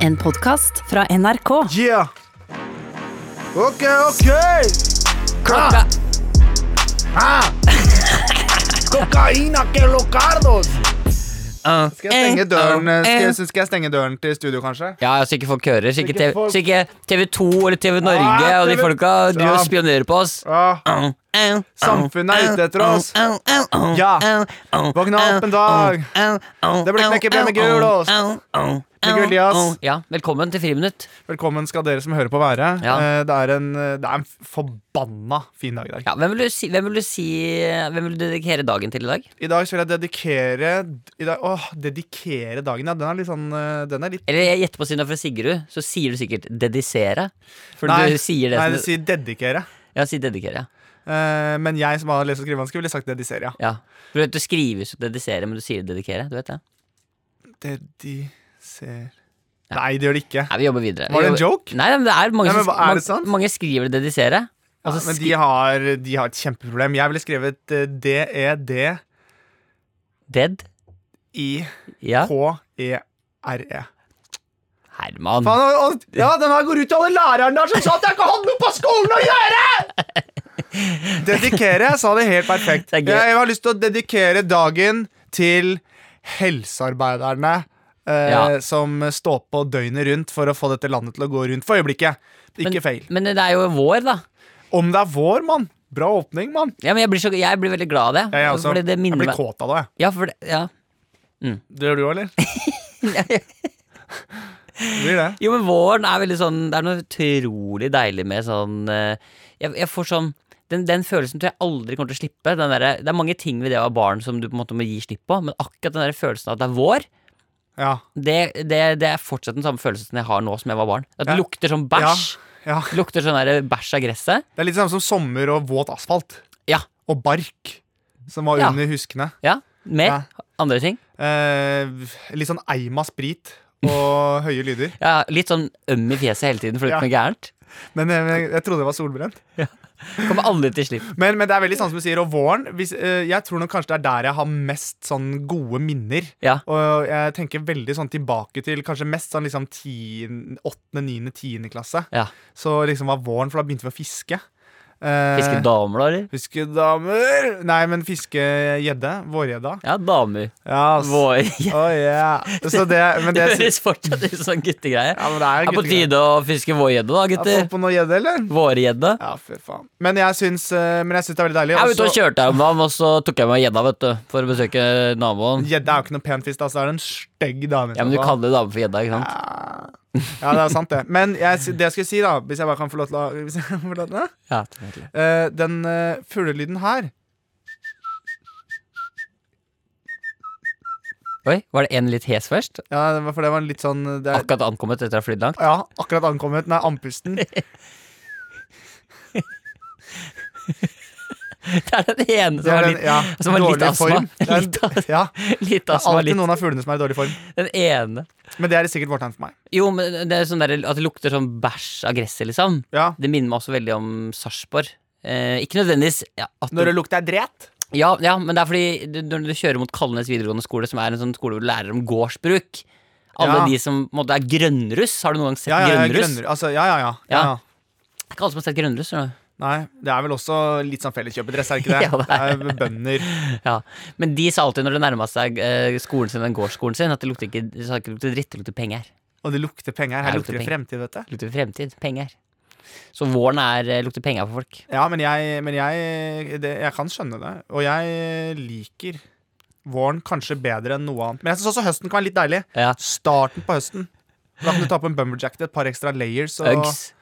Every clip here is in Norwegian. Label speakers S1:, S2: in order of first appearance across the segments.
S1: En podkast fra NRK.
S2: Yeah. Ok, ok.
S1: Klokka
S2: Ah. Kokain er ikke locardos.
S3: Ah.
S2: Skal jeg stenge døren,
S1: Eh,
S2: skal,
S1: eh.
S2: jeg- skal jeg stenge døren til studio, kanskje?
S3: Ja, ja, så ikke folk hører. Så ikke,
S2: ikke
S3: TV,
S2: folk-
S3: så ikke TV2 eller TV Norge
S2: Ah,
S3: og de
S2: TV
S3: folka driver og
S2: Ja.
S3: spionerer på oss.
S2: Ja. Samfunnet er ute etter oss. Ja. Våkne opp en dag. Det blir knekkebrød med gul ost. Med gul jazz.
S3: Ja, velkommen til Friminutt.
S2: Velkommen skal dere som hører på være.
S3: Ja.
S2: Eh, Det, er en, det er en forbanna fin dag i dag.
S3: Ja, hvem, vil du si, hvem vil du si Hvem vil du dedikere dagen til i dag?
S2: I dag så vil jeg dedikere i dag, Åh, dedikere dagen, ja. Den er litt sånn eh, Den er litt
S3: Eller jeg gjetter på siden fra Sigrud, så sier du sikkert 'dedisere'. For du sier det
S2: nei,
S3: som
S2: det sier dedikere.
S3: Ja, si 'dedikere'.
S2: Eh, men jeg som har lest- og skrivevansker, ville sagt dedisere, ja.
S3: Ja. Du vet, det skrives jo 'dedisere', men du sier 'dedikere'. Du vet det?
S2: Dediser Nei, det gjør det ikke.
S3: Nei, vi jobber videre.
S2: Var det en joke?
S3: Nei, men det er mange
S2: Nei, men
S3: som
S2: hva- er det sant?
S3: mange, mange skriver det 'dedisere'.
S2: Ja,
S3: og så
S2: men
S3: altså, skri-
S2: de har, de har et kjempeproblem. Jeg ville skrevet eh,
S3: Dead. Ja.
S2: D-E-D-I-K-E-R-E.
S3: Herman.
S2: E Faen, og- og- Ja, den her går ut til alle lærerne der som sa at jeg ikke hadde noe på skolen å gjøre! Dedikere. Jeg sa det helt perfekt.
S3: Det er
S2: Jeg,
S3: gøy.
S2: jeg har lyst til å dedikere dagen til helsearbeiderne eh,
S3: Ja.
S2: som står på døgnet rundt for å få dette landet til å gå rundt for øyeblikket. Ikke
S3: men,
S2: feil.
S3: Men det er jo vår, da.
S2: Om det er vår, mann. Bra åpning, mann.
S3: Ja, men jeg blir, så, jeg blir veldig glad av det.
S2: Jeg, jeg, også.
S3: Fordi det
S2: jeg
S3: minner
S2: blir
S3: meg
S2: kåt av det. jeg.
S3: ja, for det, ja.
S2: Det gjør du òg, eller? blir det.
S3: Jo, men våren er veldig sånn Det er noe utrolig deilig med sånn eh, Jeg, jeg får sånn den, den følelsen tror jeg aldri kommer til å slippe. Den derre- det er mange ting ved det å være barn som du på en måte må gi slipp på, men akkurat den der følelsen av at det er vår,
S2: Ja.
S3: det, det, det er fortsatt den samme følelsen jeg har nå som jeg var barn. At det
S2: Ja.
S3: lukter sånn bæsj.
S2: ja.
S3: Det Lukter sånn der bæsj av gresset.
S2: Det er litt samme som sommer og våt asfalt.
S3: Ja.
S2: Og bark. Som var
S3: Ja.
S2: under huskene.
S3: ja. Mer.
S2: Ja.
S3: Andre ting.
S2: Eh, litt sånn eim av sprit og høye lyder.
S3: Ja, litt sånn øm i fjeset hele tiden fordi
S2: Ja.
S3: det er noe gærent.
S2: Men eh, jeg, jeg trodde det var solbrent.
S3: Kommer aldri til slipp.
S2: Men, men det er veldig sånn som du sier, og våren hvis, eh, Jeg tror nok kanskje det er der jeg har mest sånn gode minner.
S3: Ja.
S2: Og jeg tenker veldig sånn tilbake til kanskje mest sånn liksom 10, 8., 9., 10. klasse.
S3: ja.
S2: Så liksom var våren, for da begynte vi å fiske. Eh,
S3: Fiske damer, da, eller?
S2: Fiskedamer Nei, men fiskegjedde. Vårgjedda.
S3: Ja, damer.
S2: Ja, ass.
S3: Vår.
S2: Å, ja. Så det, men
S3: Det
S2: det,
S3: høres fortsatt ut som en guttegreie.
S2: ja, men det er
S3: Det er på tide å fiske vårgjedde, da,
S2: Har du
S3: gutter.
S2: fått på noe gjedde, eller?
S3: Vårgjedde.
S2: Ja, fy faen. Men jeg syns, eh, men jeg syns det er veldig deilig.
S3: Jeg var ute og
S2: Også-
S3: kjørte her om dagen, og så tok jeg med gjedda, vet du, for å besøke naboen.
S2: Gjedde er jo ikke noe pen fisk, da, så det er en stygg dame.
S3: Ja, men du kaller det dame for gjedda, ikke sant?
S2: Ja, det er sant, det. Men jeg, sy- det jeg skulle si, da, hvis jeg bare kan få lov til å hvis jeg kan få lov til det,
S3: Ja, selvfølgelig.
S2: eh, Den eh, fuglelyden her
S3: Oi, var det en litt hes først?
S2: Ja, det var- for det var en litt sånn det er,
S3: Akkurat ankommet etter å ha flydd langt?
S2: Ja, akkurat ankommet. Den er andpusten.
S3: Det er den ene
S2: Det
S3: som
S2: er
S3: har
S2: den-
S3: litt,
S2: ja,
S3: som har litt
S2: dårlig
S3: astma.
S2: form. Det er en-
S3: Litt astma,
S2: Ja,
S3: litt
S2: det er
S3: astma,
S2: alltid
S3: litt.
S2: noen av fuglene som er i dårlig form.
S3: Den ene.
S2: Men det er sikkert vårt tegn for meg.
S3: Jo, men det er sånn der, at det lukter sånn bæsj av gresset, liksom.
S2: Ja.
S3: Det minner meg også veldig om Sarpsborg. Eh, ikke nødvendigvis ja, at
S2: Når det lukter dret?
S3: Ja, ja, men det er fordi du, når du kjører mot Kalnes videregående skole, som er en sånn skole hvor du lærer om gårdsbruk Alle
S2: Ja.
S3: de som på en måte er grønnruss. Har du noen gang sett
S2: Ja, ja, ja,
S3: grønnruss?
S2: grønnere. Altså, ja, ja, ja. ja,
S3: Ja.
S2: ja.
S3: Det er ikke alle som har sett grønnruss. skjønner du.
S2: Nei, det er vel også litt sånn felleskjøpedress, er det ikke det?
S3: Ja, det er.
S2: det er bønder.
S3: Ja. Men de sa alltid når det nærma seg eh, skolen sin, den gårdsskolen sin, at det lukter ikke, det sa ikke lukter dritt, det lukter penger.
S2: Og det lukter penger.
S3: Ja,
S2: Her
S3: det
S2: lukter det
S3: lukter
S2: fremtid, vet du.
S3: Det lukter fremtid. Penger. Så våren er, eh, lukter penger for folk.
S2: Ja, men jeg, men jeg, det, jeg kan skjønne det. Og jeg liker våren kanskje bedre enn noe annet. Men jeg syns også høsten kan være litt deilig.
S3: Ja.
S2: Starten på høsten. Da kan du ta på en bumberjack til et par ekstra layers og,
S3: Uggs.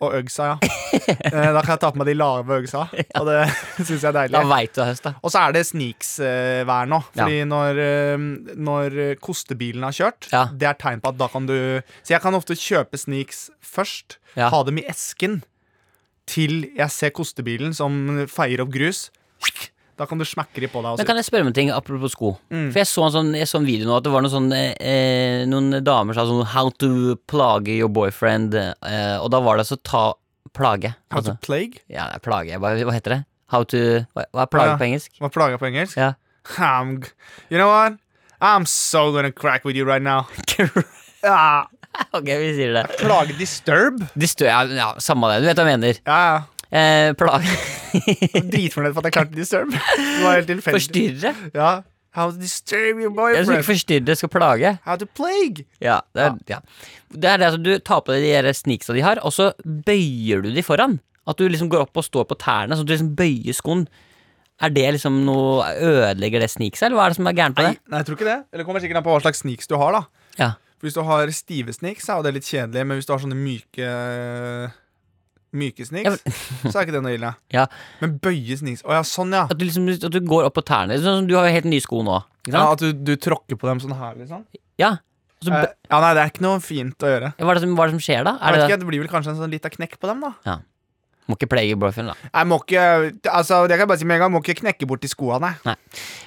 S2: og uggsa, ja. Eh, da kan jeg ta på meg de lave uggsa, og det syns jeg er deilig.
S3: Da veit du det er høst, da.
S2: Og så er det sneaks-vær nå. Fordi når, eh, når eh, kostebilen har kjørt,
S3: Ja.
S2: det er tegn på at da kan du Så jeg kan ofte kjøpe sneaks først,
S3: Ja.
S2: ha dem i esken, til jeg ser kostebilen som feier opp grus. Da kan du smekke de på deg.
S3: Men
S2: Også.
S3: kan jeg spørre om en ting apropos sko?
S2: Mm.
S3: For jeg så en sånn, jeg så en video nå at det var noen, sånn, eh, eh, noen damer som sa sånn How to plage your boyfriend. Eh, og da var det altså ta plage.
S2: How to
S3: Altså,
S2: plague?
S3: ja, det er plage. Hva, hva heter det? How to Hva, hva er plage
S2: Ja.
S3: på engelsk?
S2: Hva plager på engelsk?
S3: Ja.
S2: I'm, g- you know what? I'm so gonna crack with you right now. ah,
S3: ok, vi sier det.
S2: Plage disturb.
S3: Distø ja, ja, samme det. Du vet hva jeg mener.
S2: Ja, ja.
S3: Eh, plage
S2: Dritfornøyd for at jeg klarte disturb. Det var helt tilfeldig.
S3: Forstyrre.
S2: Ja. How to disturb your
S3: Jeg skal ikke
S2: boyfriend.
S3: forstyrre, jeg skal plage.
S2: How to plague.
S3: Ja, det er, ja. Det er det at du tar på deg de her sneaksa de har, og så bøyer du de foran. At du liksom går opp og står på tærne, så du liksom bøyer skoen. Er det liksom noe Ødelegger det sneaksa, eller hva er det som er gærent med
S2: Nei,
S3: det?
S2: nei, jeg tror ikke det. Eller det kommer sikkert an på hva slags sneaks du har, da.
S3: Ja.
S2: For Hvis du har stive sneaks, er jo det litt kjedelig, men hvis du har sånne myke Myke
S3: Ja,
S2: sneaks, så er ikke det noe ille.
S3: Ja.
S2: Men bøye sneaks Å ja, sånn, ja.
S3: At du liksom at du går opp på tærne. Sånn som du har jo helt nye sko nå. Ikke
S2: ja
S3: sant?
S2: at du, du tråkker på dem sånn her, liksom.
S3: Ja. Så,
S2: Eh,
S3: bø-
S2: ja, nei, det er ikke noe fint å gjøre.
S3: hva, er det som, hva er det som skjer da?
S2: eh, Jeg
S3: Er
S2: vet
S3: det,
S2: ikke, Det blir vel kanskje en sånn liten knekk på dem, da.
S3: må ikke plage boyfriend, da.
S2: Jeg må ikke Altså, det kan jeg bare si med en gang, må ikke knekke bort de skoa, nei.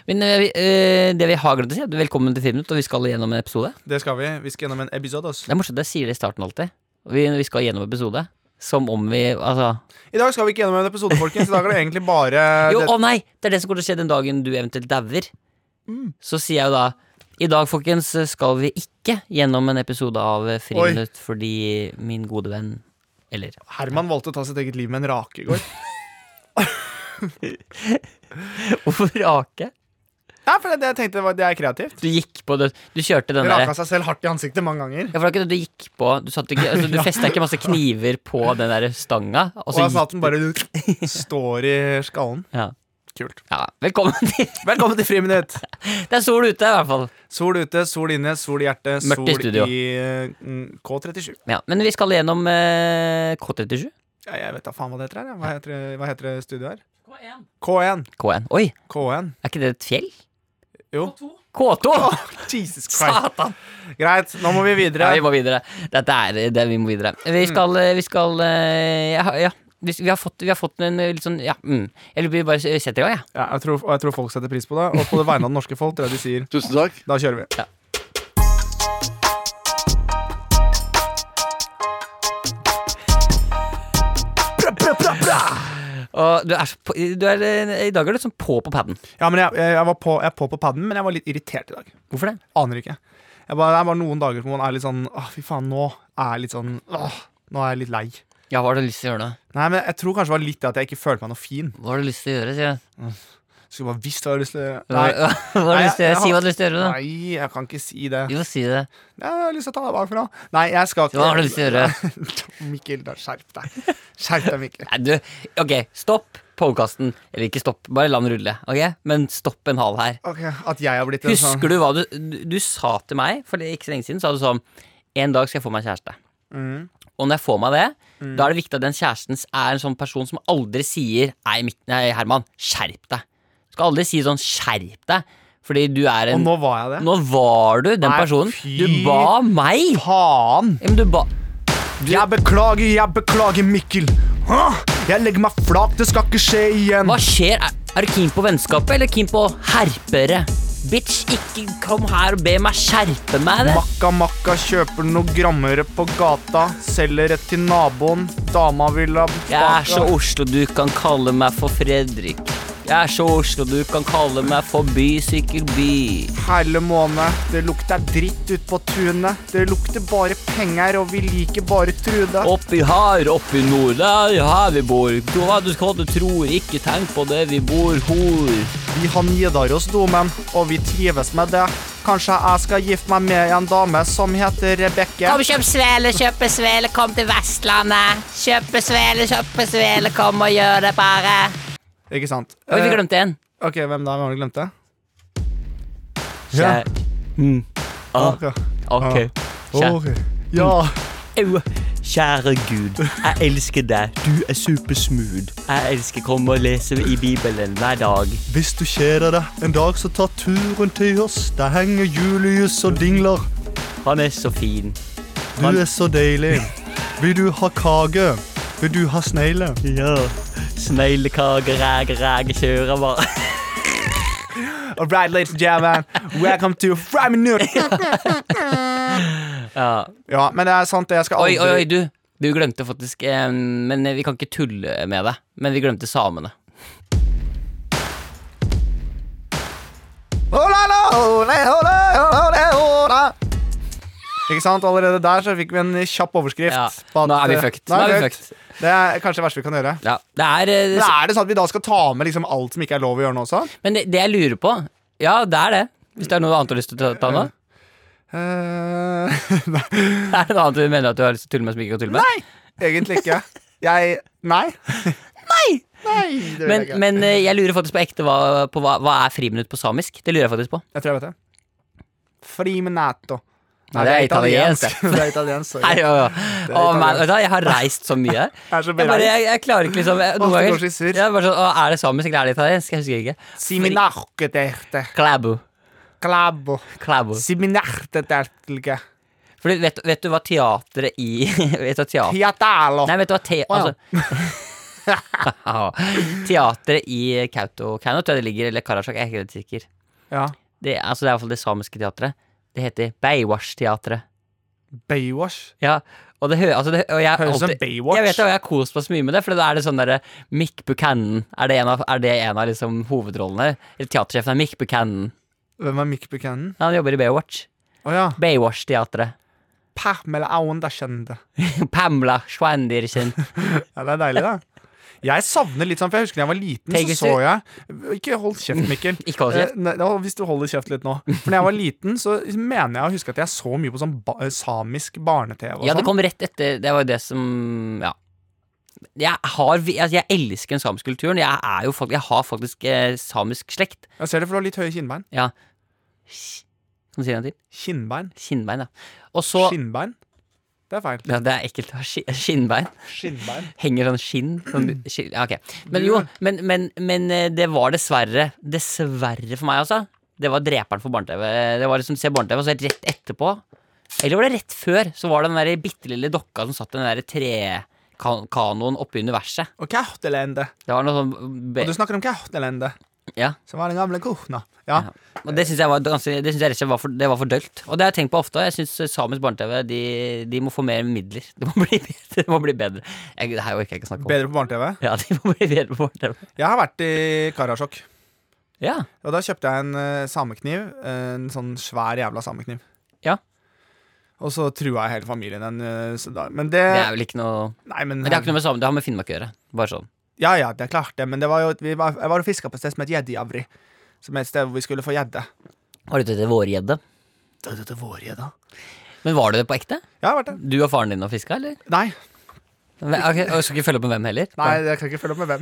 S3: Men eh, vi- eh, det vi har glemt å si, er at velkommen til Friminutt, og vi skal gjennom en episode.
S2: Det skal vi. Vi skal gjennom en episode. ass.
S3: Det er morsomt, jeg sier det i starten alltid. Vi, vi skal gjennom episode. Som om vi Altså.
S2: I dag skal vi ikke gjennom en episode, folkens. I dag er det egentlig bare
S3: Jo,
S2: det,
S3: å nei! Det er det som kommer til å skje den dagen du eventuelt dauer.
S2: Mm.
S3: Så sier jeg jo da I dag, folkens, skal vi ikke gjennom en episode av Friminutt fordi min gode venn Eller
S2: Herman valgte å ta sitt eget liv med en rake i går.
S3: Hvorfor rake?
S2: Ja, for det, det jeg tenkte var, det er kreativt.
S3: Du gikk på det Du kjørte den derre
S2: Raka seg selv hardt i ansiktet mange ganger.
S3: ja, for det er ikke det du gikk på Du, satte ikke- altså, du festa ikke masse kniver på den der stanga. Og
S2: Og
S3: så
S2: da sa
S3: gikk
S2: at den bare står i skallen.
S3: ja.
S2: Kult.
S3: ja, velkommen til
S2: Velkommen til Friminutt.
S3: Det er sol ute, i hvert fall.
S2: Sol ute, sol inne, sol i hjertet,
S3: Mørkt i
S2: sol
S3: studio.
S2: i eh, mm, K37.
S3: Ja, men vi skal gjennom eh, K37.
S2: Ja, jeg vet da faen hva det heter her. jeg. Hva heter, det- hva heter det studioet her? K1.
S3: K1. Oi,
S2: K1.
S3: er ikke det et fjell?
S2: Jo.
S3: K2!
S2: Jesus Christ.
S3: Satan!
S2: Greit, nå må vi
S3: Ja, vi
S2: videre.
S3: må videre. Dette er det vi må videre. Vi skal, eh, vi skal eh, ja, ja. Vi, vi, har fått, vi har fått en eh, litt sånn Ja, mm. Eller vi bare setter i gang, jeg.
S2: Ja, jeg, tror, og jeg tror folk setter pris på det. Og på det vegne av det norske folk tror jeg de sier
S4: Tusen takk.
S2: da kjører vi.
S3: Ja.
S2: Bra, bra, bra, bra.
S3: Ja. Og du er så på, du er, eh, I dag er du sånn på på paden.
S2: Ja, men jeg, jeg, jeg var på, jeg er på på paden, men jeg var litt irritert i dag.
S3: Hvorfor det?
S2: Aner ikke. Jeg bare, det er bare noen dager hvor man er litt sånn Åh, fy faen, nå er jeg litt sånn Åh, nå er jeg litt lei.
S3: Ja, hva har du lyst til å gjøre nå?
S2: Nei, men jeg tror kanskje det var litt det at jeg ikke følte meg noe fin.
S3: Hva har du lyst til å gjøre, sier jeg.
S2: Skulle bare visst hva jeg hadde lyst til å gjøre.
S3: Hva,
S2: Nei,
S3: hva har du
S2: Nei,
S3: lyst til å
S2: jeg-
S3: gjøre? Si hva du har lyst til å gjøre, da.
S2: nei, jeg kan ikke si det.
S3: Jo, si det.
S2: Jeg har lyst til å ta deg bakfra. Nei, jeg skal ikke
S3: Hva har du lyst til å gjøre?
S2: Mikkel, da skjerp deg. Skjerp deg, Mikkel.
S3: Nei, du, ok, stopp podkasten. Eller ikke stopp, bare la den rulle. ok? Men stopp en hal her.
S2: Ok, At jeg har blitt en sånn
S3: Husker du hva du, du, du sa til meg for ikke så lenge siden? Sa du sånn En dag skal jeg få meg kjæreste.
S2: Mm.
S3: Og når jeg får meg det, da er det viktig at den kjæresten er en sånn person som aldri sier Nei, Mik nei Herman, skjerp deg. Du skal aldri si sånn skjerp deg, fordi du er
S2: Og
S3: en
S2: nå var jeg det.
S3: Nå var du den
S2: Nei,
S3: personen.
S2: fy.
S3: Du ba meg!
S2: Faen!
S3: Ja, men du ba
S2: Jeg beklager, jeg beklager, Mikkel. Hå? Jeg legger meg flat, det skal ikke skje igjen.
S3: Hva skjer? Er, er du keen på vennskapet eller keen på herpere? Bitch, ikke kom her og be meg skjerpe meg. det
S2: Makka makka kjøper noe grammere på gata. Selger rett til naboen. Dama vil ha
S3: Jeg er så
S2: baka.
S3: Oslo, du kan kalle meg for Fredrik. Jeg er så Oslo, du kan kalle meg for bysykkelby.
S2: Hele måned. Det lukter dritt ut på tunet. Det lukter bare penger, og vi liker bare Trude.
S3: Oppi her, oppi nord, det er jo her vi bor. Du, hva du, hva du tror, ikke tenk på det, vi bor hor.
S2: Vi har Nidarosdomen, og vi trives med det. Kanskje jeg skal gifte meg med en dame som heter Rebekke.
S5: Kom, kjøp svele, kjøp svele, kom til Vestlandet. Kjøp svele, kjøp svele, kom og gjør det bare.
S2: Ikke sant?
S3: Oi, vi
S2: Eh,
S3: glemte en.
S2: ok, hvem da? Hvem har du glemt det?
S3: Kjæ... Mm. Ah,
S2: Ok.
S3: ok. Kjæ... Mm.
S2: Ok. Ja.
S3: Au, kjære Gud, jeg elsker deg. Du er supersmooth. Jeg elsker å komme og lese i Bibelen hver dag.
S6: Hvis du kjeder deg, en dag så ta turen til oss. Der henger Julius og dingler.
S3: Han er så fin.
S6: Du er så deilig. Vil du ha kake? Vil du ha snegle?
S3: Ja. Sneglekaker, ræge, ræge, kjører bare.
S2: All right, ladies and gentlemen, welcome to Five Minutes.
S3: Ja.
S2: Ja, men det er sant, det. Jeg skal
S3: Oi,
S2: aldri
S3: oi, oi, du. Du glemte faktisk eh, Men vi kan ikke tulle med det. Men vi glemte samene.
S2: Hola, la, ole, ole, ole, ole. Ikke sant? Allerede der så fikk vi en kjapp overskrift.
S3: Ja,
S2: på at-
S3: nå er vi fucked.
S2: Nå er vi fucked.
S3: fucked.
S2: Det er kanskje det verste vi kan gjøre.
S3: Ja, det er, eh,
S2: Men Er det sånn at vi da skal ta med liksom alt som ikke er lov å gjøre nå også?
S3: Men det, det jeg lurer på Ja, det er det. Hvis det er noe annet du har lyst til å ta, ta nå?
S2: Eh, nei,
S3: Er det noe annet du mener at du har lyst til å tulle med som ikke kan tulle med? Nei,
S2: egentlig ikke. Jeg Nei. Nei! Nei det vil
S3: men,
S2: jeg ikke.
S3: men eh, jeg lurer faktisk på ekte hva, på hva, hva er friminutt på samisk? Det lurer jeg faktisk på.
S2: Jeg tror jeg vet det. Friminato.
S3: Nei, det er italiensk.
S2: det er italiensk. sorry.
S3: Nei, ja, ja.
S2: Det er
S3: Å,
S2: italiensk.
S3: man, vet du, hva, jeg har reist så
S2: Jeg
S3: mye.
S2: er så
S3: Jeg, bare,
S2: bereist.
S3: jeg, jeg klarer ikke liksom jeg,
S2: Åh,
S3: noen
S2: det
S3: ganger-
S2: går så surr.
S3: Jeg er bare sånn, å, Er det samisk eller er det italiensk? Jeg husker ikke.
S2: Siminarketerte.
S3: Klæbo.
S2: Klabo.
S3: Klæbo.
S2: Siminartetertelke.
S3: Fordi vet, vet du hva teatret i Vet du hva teater
S2: Piatalo.
S3: Nei, vet du hva te...
S2: Å, ja.
S3: Altså Teatret i Kautokeino tror jeg det ligger, eller Karasjok, jeg er ikke helt sikker.
S2: Ja.
S3: Det, altså, det er i hvert fall det samiske teatret. Det heter Beiwash-teatret.
S2: Baywash.
S3: Ja, og det hører altså det, og jeg,
S2: Høres ut som
S3: alltid-
S2: Baywatch.
S3: Jeg vet det, og jeg har kost meg så mye med det, for da er det sånn derre Mick Buchanan. Er det en av, er det en av liksom hovedrollene? Eller teatersjefen er Mick Buchanan.
S2: Hvem er Mick Buchanan?
S3: Han jobber i Baywatch.
S2: Å ja.
S3: Baywash-teateret.
S2: Pamela Andersen. Ja,
S3: Pamela Schwandirchen.
S2: det er deilig, da. Jeg savner litt sånn, for jeg husker da jeg var liten,
S3: Tenk
S2: så
S3: hvis
S2: så
S3: du-
S2: jeg Ikke hold kjeft, Mikkel.
S3: Ikke hold kjeft.
S2: Eh, nei, ja, hvis du holder kjeft litt nå. For da jeg var liten, så mener jeg å huske at jeg så mye på sånn ba eh, samisk barne-TV. og
S3: Ja, det
S2: sånn.
S3: kom rett etter. Det var jo det som Ja. Jeg, har, vi- altså, jeg elsker den samiske kulturen. Jeg, er jo fakt- jeg har faktisk eh, samisk slekt.
S2: Jeg ser det, for du har litt høye kinnbein.
S3: Ja. Kan du si det en gang til?
S2: Kinnbein?
S3: Kinnbein, ja. Og så
S2: Skinnbein? Det er feil.
S3: ja, Det er ekkelt å ha skin- skinnbein.
S2: Skinnbein.
S3: Henger sånn skinn sånn, skinn- ja, ok. Men jo, men, men, men eh, det var dessverre Dessverre for meg, altså. Det var dreperen for barne-TV. Det var liksom se barne-TV, og så rett etterpå, eller var det rett før, så var det den der bitte lille dokka som satt i den der trekanoen oppe i universet.
S2: Og Kautelende.
S3: Det var noe sånn be
S2: Og du snakker om Kautelende,
S3: ja.
S2: som var den gamle kona. Ja.
S3: Og det syns jeg var ganske Det synes jeg rett og slett var for, det var for dølt. Og det har jeg tenkt på ofte. og Jeg syns samisk barne-TV de, de må få mer midler. Det må bli bedre. Det må bli bedre. Jeg, det her orker jeg ikke snakke om.
S2: Bedre på barne-TV.
S3: Ja, de må bli bedre på barne-TV.
S2: Jeg har vært i Karasjok.
S3: Ja.
S2: Og da kjøpte jeg en eh, samekniv. En sånn svær jævla samekniv.
S3: Ja.
S2: Og så trua jeg hele familien. En, eh, så da, men det,
S3: Det er vel ikke noe
S2: Nei, men,
S3: Men det har ikke noe med samme, det har med Finnmark å gjøre. Bare sånn.
S2: Ja, ja, det er klart det. Men det var jo, vi var, jeg var og fiska på et sted som het Gjeddejavri. Som er et sted hvor vi skulle få gjedde.
S3: Var du ute etter vårgjedde?
S2: Da, da, da, vårgjedda.
S3: Men var du det på ekte?
S2: Ja, jeg har vært det.
S3: Du og faren din og fiska, eller?
S2: Nei,
S3: Ok, og jeg skal ikke følge opp med hvem heller?
S2: nei, jeg kan ikke følge opp med hvem.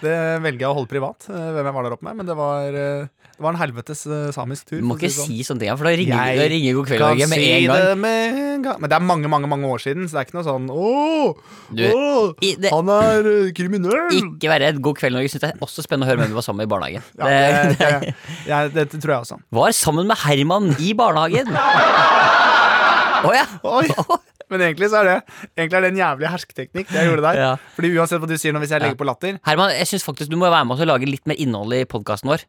S2: Det velger jeg å holde privat. eh, Hvem jeg var der oppe med. Men det var, eh, det var en helvetes eh, samisk tur.
S3: Du må
S2: for å
S3: ikke
S2: det sånn.
S3: si sånne ting, for da ringer,
S2: Jeg
S3: da ringer God kveld
S2: kan
S3: Norge med
S2: si
S3: en gang.
S2: det med en gang. Men det er mange, mange mange år siden, så det er ikke noe sånn Åh,
S3: Du,
S2: åh,
S3: i- det-
S2: han er eh, kriminell!
S3: Ikke vær redd, God kveld Norge syns det er også spennende å høre hvem du var sammen med i barnehagen.
S2: Ja,
S3: det,
S2: det, det, ja, det tror jeg også.
S3: Var sammen med Herman i barnehagen! Å ja!
S2: Oi. Men egentlig så er det Egentlig er det en jævlig hersketeknikk. Det jeg gjorde der
S3: Ja.
S2: Fordi uansett hva du sier nå, hvis jeg legger på latter
S3: Herman, jeg synes faktisk du må være med oss og lage litt mer innhold i podkasten vår.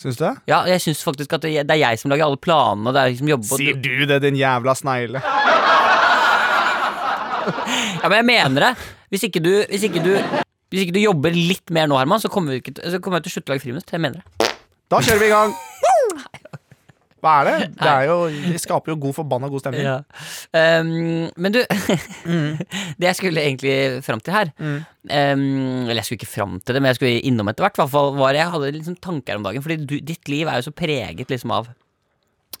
S2: Syns du det?
S3: Ja, jeg synes faktisk at det det er jeg som lager alle planene. Og det er jeg som jobber på
S2: Sier du det, din jævla snegle?
S3: Ja, men jeg mener det. Hvis ikke du, hvis ikke du hvis ikke du jobber litt mer nå, Herman, så kommer, vi ikke, til- så kommer jeg til å slutte å lage friminutt. Jeg mener det.
S2: Da kjører vi i gang. Hva er det? Det, er jo, det skaper jo god forbanna god stemning.
S3: Ehm, men du, det jeg skulle egentlig fram til her ehm, Eller jeg skulle ikke fram til det, men jeg skulle innom etter hvert. hvert fall var Jeg hadde liksom tanker om dagen, Fordi du, ditt liv er jo så preget liksom av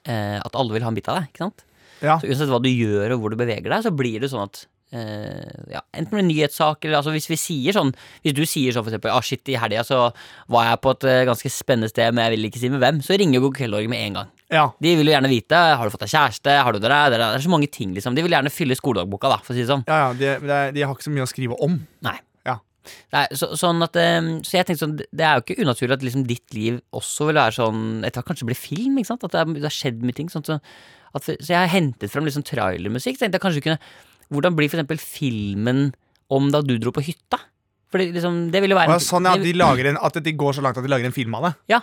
S3: eh, at alle vil ha en bit av deg. ikke sant?
S2: Ja.
S3: Så Uansett hva du gjør og hvor du beveger deg, så blir det sånn at eh, ja, Enten med nyhetssaker eller altså hvis vi sier sånn Hvis du sier sånn for eksempel ah, shit, i helga så var jeg på et eh, ganske spennende sted, men jeg vil ikke si med hvem, så ringer God kveld Norge med en gang.
S2: ja.
S3: De vil jo gjerne vite har du fått deg kjæreste, har du det der, det der, det er så mange ting, liksom. De vil gjerne fylle skoledagboka, da, for å si det sånn.
S2: Ja, ja, de, de, de har ikke så mye å skrive om.
S3: Nei.
S2: Ja.
S3: Nei, så, sånn at, ehm, så jeg tenkte sånn, det er jo ikke unaturlig at liksom ditt liv også vil være sånn Etter hvert kanskje bli film, ikke sant? At det, er, det har skjedd mye ting. Sånn, så, at, så jeg har hentet fram liksom trailermusikk. Så tenkte jeg kanskje vi kunne Hvordan blir for eksempel filmen om da du dro på hytta? For det, liksom, det vil jo
S2: Og
S3: være
S2: ja, sånn ja, at,
S3: det-
S2: de lager en, at de går så langt at de lager en film av det.
S3: ja,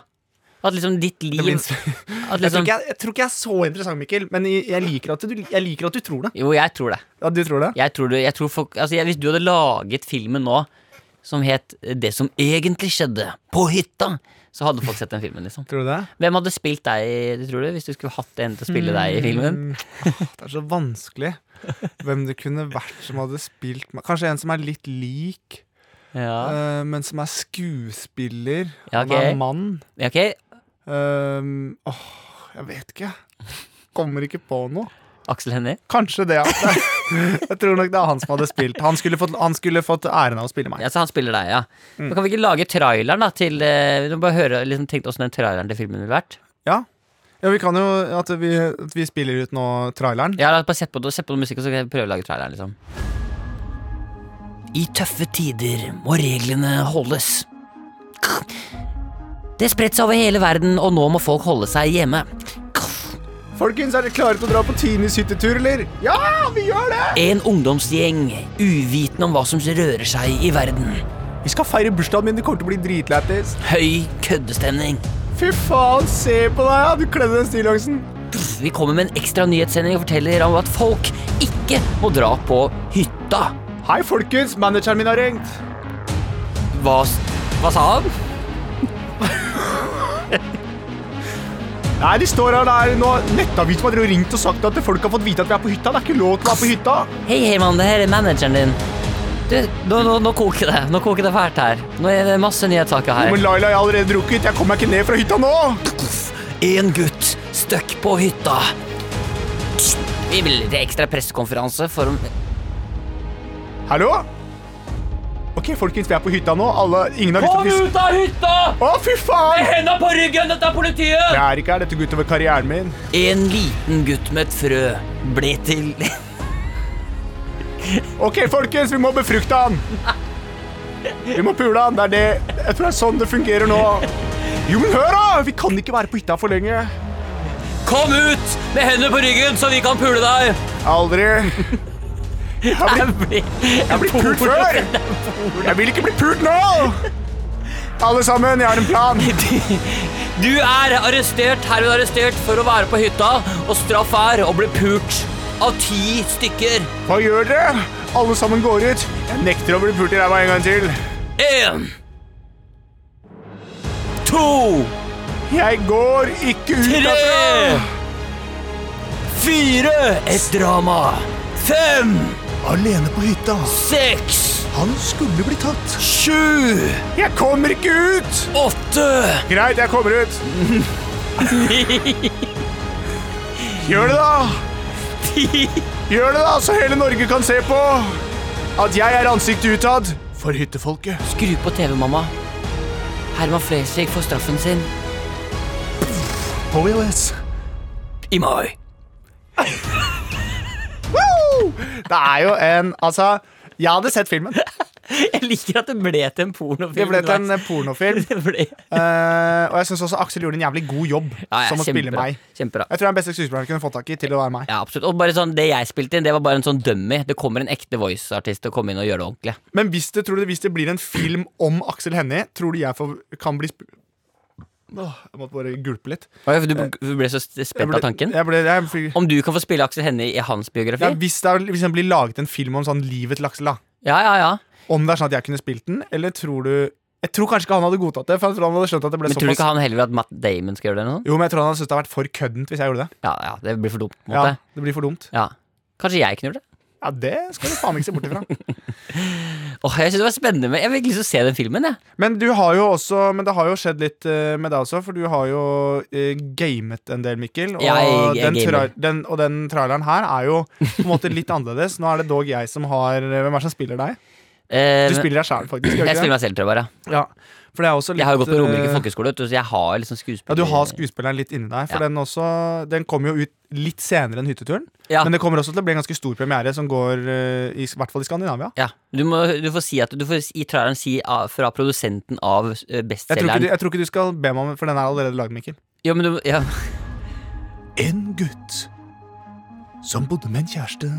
S3: at liksom ditt liv
S2: det blir en,
S3: at
S2: jeg, tror
S3: liksom,
S2: ikke jeg, jeg tror ikke jeg er så interessant, Mikkel, men jeg, jeg, liker at du, jeg liker at du tror det.
S3: Jo, jeg tror det.
S2: Ja, du tror det?
S3: Jeg tror du, jeg tror folk, altså jeg, Hvis du hadde laget filmen nå som het 'Det som egentlig skjedde på hytta', så hadde folk sett den filmen. liksom
S2: Tror du det?
S3: Hvem hadde spilt deg, tror du, hvis du skulle hatt en til å spille deg i filmen?
S2: Mm. Det er så vanskelig hvem det kunne vært som hadde spilt meg. Kanskje en som er litt lik,
S3: Ja,
S2: eh, men som er skuespiller.
S3: Ja,
S2: Han
S3: ok.
S2: er mann.
S3: ja ok
S2: Um, åh, jeg vet ikke. Kommer ikke på noe.
S3: Aksel Hennie?
S2: Kanskje det, ja. Jeg tror nok det er han som hadde spilt. Han skulle fått, han skulle fått æren av å spille meg.
S3: Ja, så han spiller deg, ja. Men kan vi ikke lage traileren, da, til eh, Vi må bare høre liksom, tenkt åssen den traileren til filmen ville vært.
S2: Ja, ja vi kan jo at vi, at vi spiller ut nå traileren.
S3: Ja, la oss bare sette på, sett på noe musikk, og så kan jeg prøve å lage traileren, liksom. I tøffe tider må reglene holdes. Det spredt seg over hele verden, og nå må folk holde seg hjemme.
S2: Folkens, er dere klare til å dra på Tinis hyttetur, eller? Ja, vi gjør det!
S3: En ungdomsgjeng uvitende om hva som rører seg i verden.
S2: Vi skal feire bursdagen min, det kommer til å bli dritlættis.
S3: Høy køddestemning.
S2: Fy faen, se på deg, ja. Du kledde den stillongsen.
S3: Vi kommer med en ekstra nyhetssending og forteller om at folk ikke må dra på hytta.
S2: Hei, folkens. Manageren min har ringt.
S3: Hva, s- hva sa han?
S2: Nei, de står her, det er nå Nettavisen har drevet og ringt og sagt at folk har fått vite at vi er på hytta. Det er ikke lov til å være på hytta.
S3: Hei, Herman, det her er manageren din. Du, nå, nå, nå koker det. Nå koker det fælt her. Nå er det masse nyhetssaker
S2: Men
S3: her.
S2: Laila, jeg har allerede drukket. Jeg kommer meg ikke ned fra hytta nå.
S3: En gutt støkk på hytta. Vi vil til ekstra pressekonferanse for om
S2: Hallo? Ok, folkens, vi er på hytta nå. Alle, ingen har lyst til å pisse.
S3: av hytta!
S2: Å, fy faen!
S3: Henda på ryggen, dette er
S2: Jeg
S3: politiet!
S2: er ikke her. Dette går utover karrieren min.
S3: En liten gutt med et frø ble til
S2: Ok, folkens, vi må befrukte han. Vi må pule han. Det er det. Jeg tror det er sånn det fungerer nå. Jo, men hør, da! Vi kan ikke være på hytta for lenge.
S3: Kom ut med hendene på ryggen, så vi kan pule deg!
S2: Aldri. Jeg har blitt
S3: Jeg
S2: Jeg
S3: blir,
S2: blir pult før! Jeg vil ikke bli pult nå! Alle sammen, jeg har en plan.
S3: Du er arrestert, herved arrestert, for å være på hytta, og straff er å bli pult av ti stykker.
S2: Hva gjør dere? Alle sammen går ut. Jeg nekter å bli pult i ræva en gang til.
S3: Én. To.
S2: Jeg går ikke ut
S3: Tre.
S2: derfra!
S3: Fire. Et drama. Fem.
S6: Alene på hytta.
S3: Seks.
S6: Han skulle bli tatt.
S3: Sju.
S2: Jeg kommer ikke ut!
S3: Åtte.
S2: Greit, jeg kommer ut. Gjør det, da! Gjør det, da, så hele Norge kan se på at jeg er ansiktet utad for hyttefolket.
S3: Skru på TV, mamma. Herman Flesvig får straffen sin
S6: På VHS.
S3: i mai.
S2: Woo! Det er jo en Altså, jeg hadde sett filmen.
S3: Jeg liker at det ble til en pornofilm.
S2: Det ble til en eh, pornofilm.
S3: Det ble-
S2: Eh, og jeg syns også Aksel gjorde en jævlig god jobb
S3: Ja, ja,
S2: som å spille
S3: kjempebra.
S2: meg.
S3: Kjempebra.
S2: Jeg tror det er den beste skuespilleren jeg kunne fått tak i til å være meg.
S3: Ja, absolutt. Og bare sånn, det jeg spilte inn, det var bare en sånn dummy. Det kommer en ekte voice-artist og kommer inn og gjør det ordentlig.
S2: Men hvis det, tror du, det- hvis det blir en film om Aksel Hennie, tror du jeg får, kan bli sp Åh, Jeg måtte bare gulpe litt.
S3: du Eh, du ble så
S2: Jeg
S3: spent
S2: ble-
S3: av tanken?
S2: Jeg ble, jeg, fikk-
S3: Om du kan få spille Aksel Hennie i hans
S2: ja,
S3: biografi?
S2: hvis, det er, hvis det blir laget en film om sånn livet til Aksel, da.
S3: Ja, ja, ja.
S2: Om det er sånn at jeg kunne spilt den, eller tror du Jeg tror kanskje ikke han hadde godtatt det. For jeg tror han hadde skjønt at det ble
S3: Men tror du
S2: såpass
S3: ikke han heller vil at Matt Damon skal gjøre det? eller noe sånt?
S2: Jo, men jeg tror han hadde syntes det hadde vært for køddent hvis jeg gjorde det.
S3: Ja, ja, det blir for dumt. på en
S2: Ja,
S3: måte.
S2: det blir for dumt.
S3: Ja. Kanskje jeg kunne gjort det?
S2: Ja, det skal du faen ikke se bort ifra.
S3: Åh, jeg synes det var spennende men Jeg fikk lyst til å se den filmen. jeg
S2: Men du har jo også Men det har jo skjedd litt eh, med deg også, for du har jo eh, gamet en del, Mikkel. Og,
S3: Jeg-
S2: den
S3: jeg gamer.
S2: trai- den, og den traileren her er jo på en måte litt annerledes. Nå er det dog jeg som har eh, Hvem er det som spiller deg?
S3: Eh,
S2: Du
S3: men-
S2: spiller deg sjæl, faktisk. gjør du
S3: jeg spiller
S2: ikke det?
S3: meg selv, tror jeg bare.
S2: Ja, for det er også litt
S3: Jeg har jo gått på Romerike
S2: eh,
S3: folkehøgskole, vet du, så jeg har liksom skuespiller...
S2: ja, Du har skuespilleren litt inni deg, for
S3: Ja.
S2: den også Den kommer jo ut litt senere enn hytteturen.
S3: Ja.
S2: Men det kommer også til å bli en ganske stor premiere, som går eh, i, i hvert fall i Skandinavia.
S3: Ja. Du, må, du får si at Du får i traileren si av, fra produsenten av eh,
S2: Jeg tror, ikke du,
S3: bestselgeren.
S2: jeg tror ikke du skal be meg om for den er allerede lagd, Mikkel.
S3: Jo, men du, ja.
S6: En gutt som bodde med en kjæreste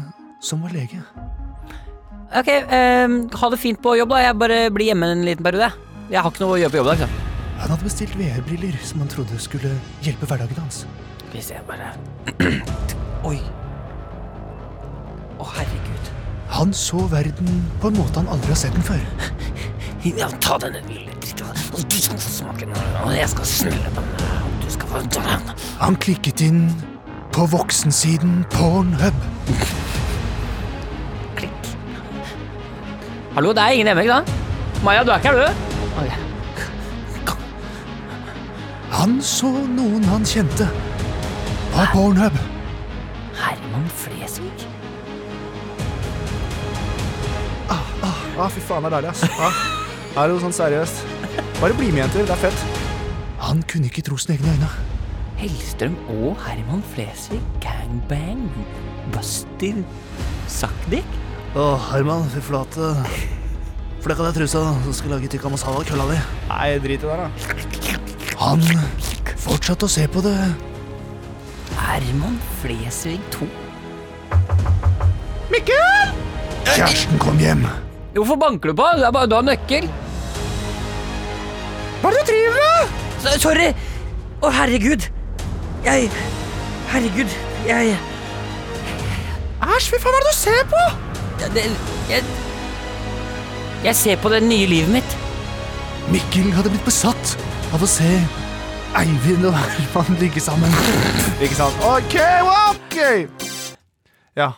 S6: som var lege.
S3: Ok, ehm, ha det fint på jobb da Jeg bare blir hjemme en liten periode Jeg har ikke noe å gjøre på jobb da liksom.
S6: Han hadde bestilt VR-briller som han trodde skulle hjelpe hverdagen hans.
S3: Skal vi se bare Oi Å herregud
S6: Han så verden på en måte han aldri har sett den før.
S3: ja, Ta denne lille
S5: Og du skal få smake den, og jeg skal snulle på den, og du skal få ta den.
S6: Han klikket inn på voksensiden Pornhub.
S5: Klikk.
S3: Hallo, det er ingen hjemme, ikke sant? Maja, du er ikke her, du?
S6: Han så noen han kjente på Pornhub.
S5: Herman Flesvig.
S2: Ah, fy faen, det er deilig, ass. Ah. Er det sånn seriøst? Bare bli med, jenter. Det er fett.
S6: Han kunne ikke tro sine egne øyne.
S3: Hellstrøm og Herman Flesvig, gangbang, Buster, Sakdik?
S6: Å, Herman, fy flate. Flekk av deg trusa, så skal jeg lage tikka masala av kølla di.
S2: Nei, drit i det, da.
S6: Han fortsatte å se på det.
S3: Herman Flesvig 2?
S6: Kjæresten kom hjem.
S3: Hvorfor banker du på? Det er bare, du har nøkkel.
S2: Hva er det du driver med?
S3: S- Sorry! Å, herregud. Jeg Herregud. Jeg
S2: Æsj, fy faen, hva er det du ser på?
S3: det, Jeg, jeg ser på det nye livet mitt.
S6: Mikkel hadde blitt besatt av å se Eivind og Herman ligge sammen.
S2: Ikke sant? OK, OK! Ja.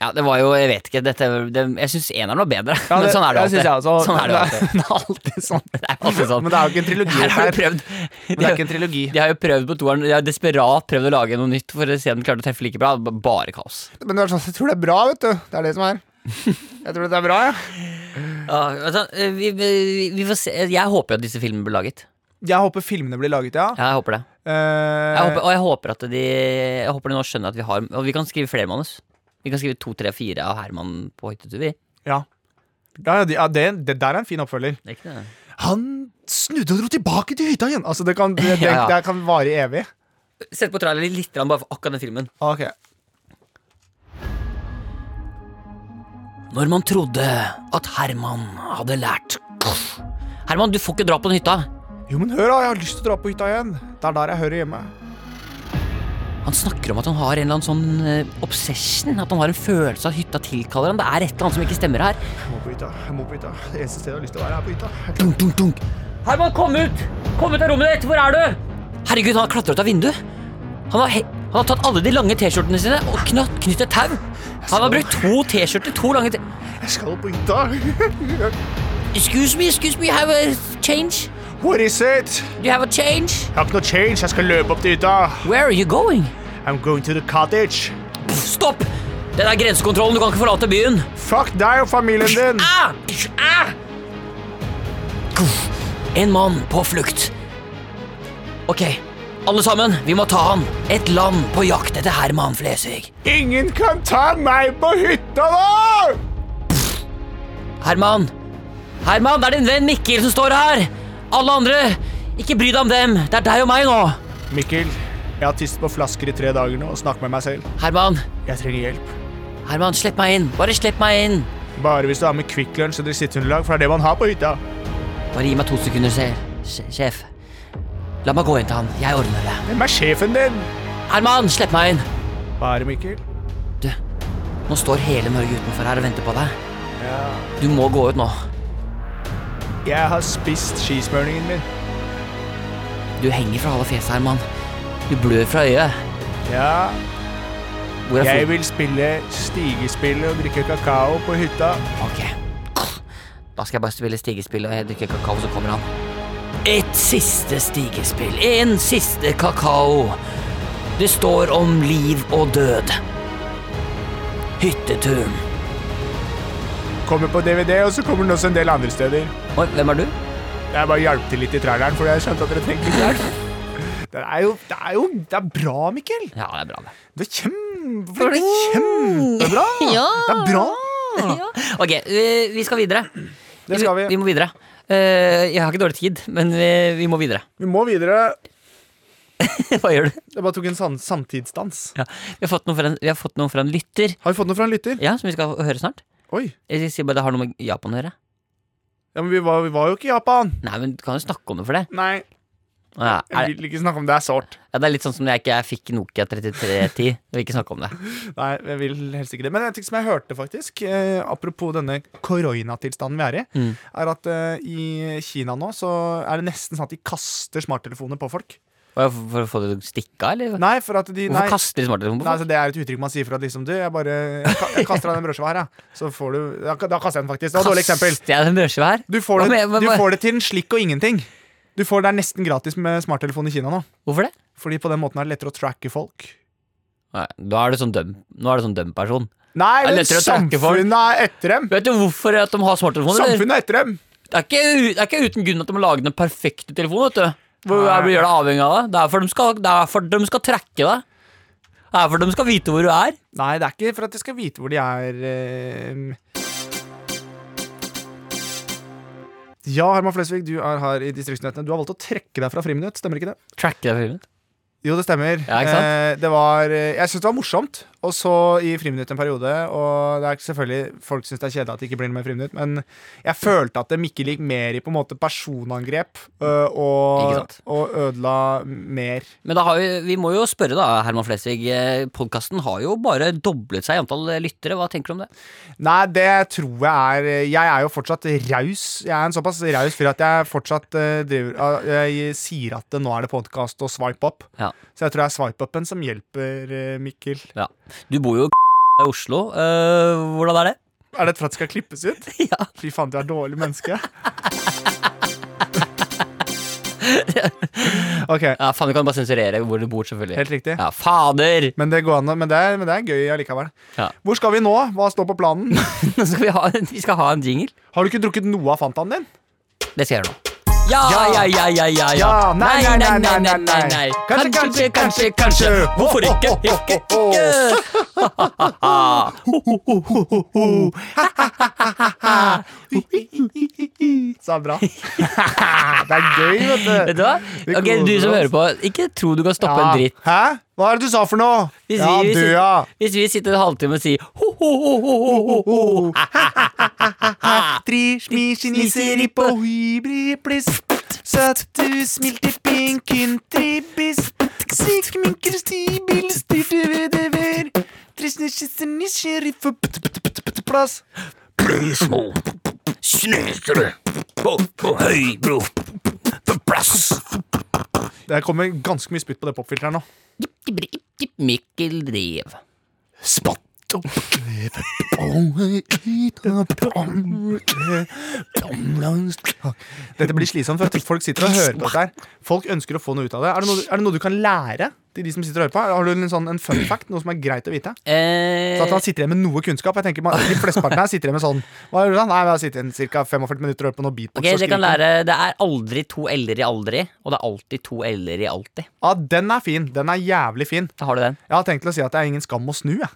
S3: Ja, det var jo Jeg vet ikke. Dette, det, jeg syns eneren var bedre. men sånn er det
S2: jeg synes
S3: alltid.
S2: jeg også.
S3: sånn er det alltid.
S2: Det er alltid sånn.
S3: Det er alltid sånn.
S2: Men det er jo ikke en trilogi.
S3: Her
S2: det
S3: har de
S2: er-
S3: prøvd.
S2: Men det er ikke en trilogi.
S3: De har jo prøvd på toeren. De har desperat prøvd å lage noe nytt for å se om de klarte å treffe like bra. B- Bare kaos.
S2: Men det er sånn, jeg tror det er bra, vet du. Det er det som er. Jeg tror det er bra, ja.
S3: Ja, altså, vi, vi, vi får se. Jeg håper jo at disse filmene blir laget.
S2: Jeg håper filmene blir laget, ja.
S3: Ja, jeg håper det.
S2: Eh,
S3: Jeg håper, og jeg håper at de Jeg håper de nå skjønner at vi har Og vi kan skrive flere manus. Vi kan skrive to, tre, fire av Herman på hyttetur. vi.
S2: ja. Ja, ja, de- ja det, det der er en fin oppfølger.
S3: Det er ikke det.
S6: Han snudde og dro tilbake til hytta igjen.
S2: Altså, det kan, det, det,
S3: Ja, ja.
S2: det kan vare evig.
S3: Sett på trailer litt grann bare for akkurat den filmen.
S2: Ok.
S3: Når man trodde at Herman hadde lært Herman, du får ikke dra på den hytta.
S2: Jo, men hør, da. Jeg har lyst til å dra på hytta igjen. Det er der jeg hører hjemme.
S3: Han snakker om at han har en eller annen sånn eh, obsession. At han har en følelse av at hytta tilkaller han. Det er et eller annet som ikke stemmer her.
S2: Jeg må på hytta. Jeg må på hytta. Det eneste stedet jeg har lyst til å være, er på hytta.
S3: Dunk, dunk, dunk. Herman, kom ut! Kom ut av rommet ditt! Hvor er du? Herregud, han har klatret ut av vinduet. Han har, he han har tatt alle de lange T-skjortene sine og knatt, knyttet tau. Han har brukt to T-skjorter, to lange t
S2: Jeg skal på hytta.
S3: Excuse me, excuse me, have a change?
S2: What is it?
S3: Do you have a change?
S2: Jeg har ikke noe change. Jeg skal løpe opp til hytta.
S3: Where are you going?
S2: I'm going to the cottage.
S3: Pff, stopp! Den er grensekontrollen, du kan ikke forlate byen.
S2: Fuck deg og familien din.
S3: Ah! Ah! En mann på flukt. Ok, alle sammen, vi må ta han. Et land på jakt etter Herman Flesvig.
S2: Ingen kan ta meg på hytta, da!
S3: Herman! Herman, det er din venn Mikkel som står her! Alle andre, ikke bry deg om dem. Det er deg og meg nå.
S2: Mikkel, jeg har tisset på flasker i tre dager nå og snakket med meg selv.
S3: Herman,
S2: Jeg trenger hjelp.
S3: Herman, slipp meg inn. Bare slipp meg inn.
S2: Bare hvis du har med Kvikk Lunsj og dressittunderlag, for det er det man har på hytta.
S3: Bare gi meg to sekunder, se- sj- sjef. La meg gå inn til han. Jeg ordner det.
S2: Hvem er sjefen din?
S3: Herman, slipp meg inn.
S2: Bare Mikkel.
S3: Du, nå står hele Norge utenfor her og venter på deg. Du må gå ut nå.
S2: Jeg har spist skismørningen min.
S3: Du henger fra halve fjeset, Herman. Du blør fra øyet.
S2: Ja,
S3: Hvor er
S2: jeg
S3: fot-
S2: vil spille stigespillet og drikke kakao på hytta.
S3: Ok. Da skal jeg bare spille stigespill, og jeg drikker kakao, så kommer han. Et siste stigespill. En siste kakao. Det står om liv og død. Hytteturen.
S2: Kommer på DVD, og så kommer den også en del andre steder.
S3: Oi, hvem er du?
S2: Jeg bare hjalp til litt i traileren, for jeg skjønte at dere trengte litt hjelp. Det er jo Det er jo Det er bra, Mikkel.
S3: Ja, det er bra, det.
S2: Det er kjempe... Det er kjempebra. Det er bra.
S3: Ok, vi- vi skal videre.
S2: Det skal vi.
S3: Vi må videre. Eh, Jeg har ikke dårlig tid, men vi, vi må videre.
S2: Vi må videre.
S3: Hva gjør du?
S2: Jeg bare tok en sam- samtidsdans.
S3: Ja. Vi, har fått noe fra en, vi har fått noe fra en lytter,
S2: Har vi fått noe fra en lytter?
S3: ja, som vi skal høre snart.
S2: Oi.
S3: Jeg sier bare det har noe med Japan å gjøre.
S2: Ja, men vi var, vi var jo ikke i Japan.
S3: Nei, men du kan jo snakke om det for det.
S2: Nei.
S3: Ja, er,
S2: Jeg vil ikke snakke om det. Det er sårt.
S3: ja, det er litt sånn som når jeg ikke jeg fikk Nokia 3310. Jeg vil ikke snakke om det.
S2: Nei, jeg vil helst ikke det. Men en ting som jeg hørte, faktisk, eh, apropos denne koronatilstanden vi er i,
S3: Mm.
S2: er at eh, i Kina nå så er det nesten sånn at de kaster smarttelefoner på folk.
S3: Og jeg- For å få det til å stikke av, eller?
S2: Nei, for at de
S3: Hvorfor
S2: nei,
S3: kaster de smarttelefonen
S2: Nei,
S3: på folk?
S2: altså, det er et uttrykk man sier for at liksom Du, jeg bare jeg ka- jeg kaster av den brødskiva her, ja. Så får du Da, da kaster jeg den, faktisk. Det var et dårlig eksempel.
S3: Kaster jeg den brødskiva her?
S2: Du får,
S3: Hva
S2: det,
S3: med- hva-
S2: du
S3: hva-
S2: får det til en slikk og ingenting. Du får Det er nesten gratis med smarttelefon i Kina nå.
S3: Hvorfor det?
S2: Fordi på den måten er det lettere å tracke folk.
S3: Nei, da er du sånn døm. Nå er du sånn døm person.
S2: Nei,
S3: Det er
S2: men
S3: lettere å tracke folk.
S2: samfunnet er etter dem!
S3: Vet du hvorfor at de har smarttelefoner? eller?
S2: Samfunnet er etter dem!
S3: Det er, ikke, u- det er ikke uten grunn at de har laget den perfekte telefonen. vet du Hvor
S2: Nei.
S3: vi gjør deg avhengig av deg. Det er for de skal, det er for de skal trekke deg. Det er for de skal vite hvor du er.
S2: Nei, det er ikke for at de skal vite hvor de er ehm. Ja, Herman Flesvig, du er her i Distriktsnyhetene. Du har valgt å trekke deg fra Friminutt, stemmer ikke det?
S3: Tracke deg filmen.
S2: Jo, det stemmer.
S3: Ja, ikke sant?
S2: Eh, det var, eh, jeg syns det var morsomt, og så i Friminutt en periode. Og det er selvfølgelig folk syns det er kjedelig at det ikke blir noe mer Friminutt, men jeg følte at de ikke gikk mer i på en måte personangrep ø,
S3: Ikke
S2: og,
S3: sant?
S2: og ødela mer.
S3: Men da har vi, vi må jo spørre, da, Herman Flesvig. Podkasten har jo bare doblet seg i antall eh, lyttere. Hva tenker du om det?
S2: Nei, det tror jeg er Jeg er jo fortsatt raus. Jeg er en såpass raus fyr at jeg fortsatt eh, driver ah, Jeg sier at det, nå er det podkast og swipe up.
S3: Ja.
S2: Så jeg tror det er swipe-upen som hjelper, eh, Mikkel.
S3: ja. Du bor jo i Oslo. Eh, hvordan er det?
S2: Er det for at det skal klippes ut?
S3: Ja.
S2: Fy faen, du er dårlig menneske. Ok,
S3: ja, Faen, du kan bare sensurere hvor du bor, selvfølgelig.
S2: helt riktig.
S3: Ja, Fader!
S2: Men det, går an, å- men, det er, men det er gøy allikevel.
S3: Ja.
S2: Hvor skal vi nå? Hva står på planen?
S3: Nå skal vi ha, vi skal ha en jingle.
S2: Har du ikke drukket noe av Fantaen din?
S3: Det skal jeg gjøre nå. Ja, ja, ja, ja, ja, ja.
S2: Ja, nei, nei, nei, nei, nei, nei.
S3: Kanskje, kanskje, kanskje, kanskje. Hvorfor ikke? Ikke, ikke.
S2: Så er det bra. Det er gøy, vet
S3: Vet
S2: du.
S3: du hva?
S2: Vi
S3: Ok, du som hører på, ikke tro du kan stoppe en dritt.
S2: Hæ? Hva er det du sa for noe?
S3: Hvis
S2: Ja,
S3: vi,
S2: du,
S3: hvis,
S2: ja.
S3: hvis vi sitter en halvtime og sier ho, ho, ho, ho, ho, ho, ho.
S2: Tri, smi, kineseri på hybri bliss. Søt du smilte pinken tribis. Syk min kristibel styrte vedever. Trisne kisse nisjeri for plass. Det kommer ganske mye spytt på det popfilteret nå.
S3: Mikkel Drev.
S2: Dette blir slitsomt, for at folk sitter og hører på dette her. Folk ønsker å få noe ut av det. Er det noe, er det noe du kan lære til de som sitter og hører på? Har du en, sånn, en fun fact? Noe som er greit å vite? Så at
S3: Eh,
S2: han sitter igjen med noe kunnskap. Jeg tenker man, De flesteparten her sitter igjen med sånn Hva gjør du da? Nei, jeg sitter igjen ca. 45 minutter og hører på noe beatbox.
S3: ok,
S2: og
S3: det kan
S2: skriker.
S3: lære. Det er aldri to l-er i aldri, og det er alltid to l-er i alltid.
S2: Ja, den er fin. Den er jævlig fin.
S3: Da har du den.
S2: Jeg har tenkt til å si at det er ingen skam å snu, jeg.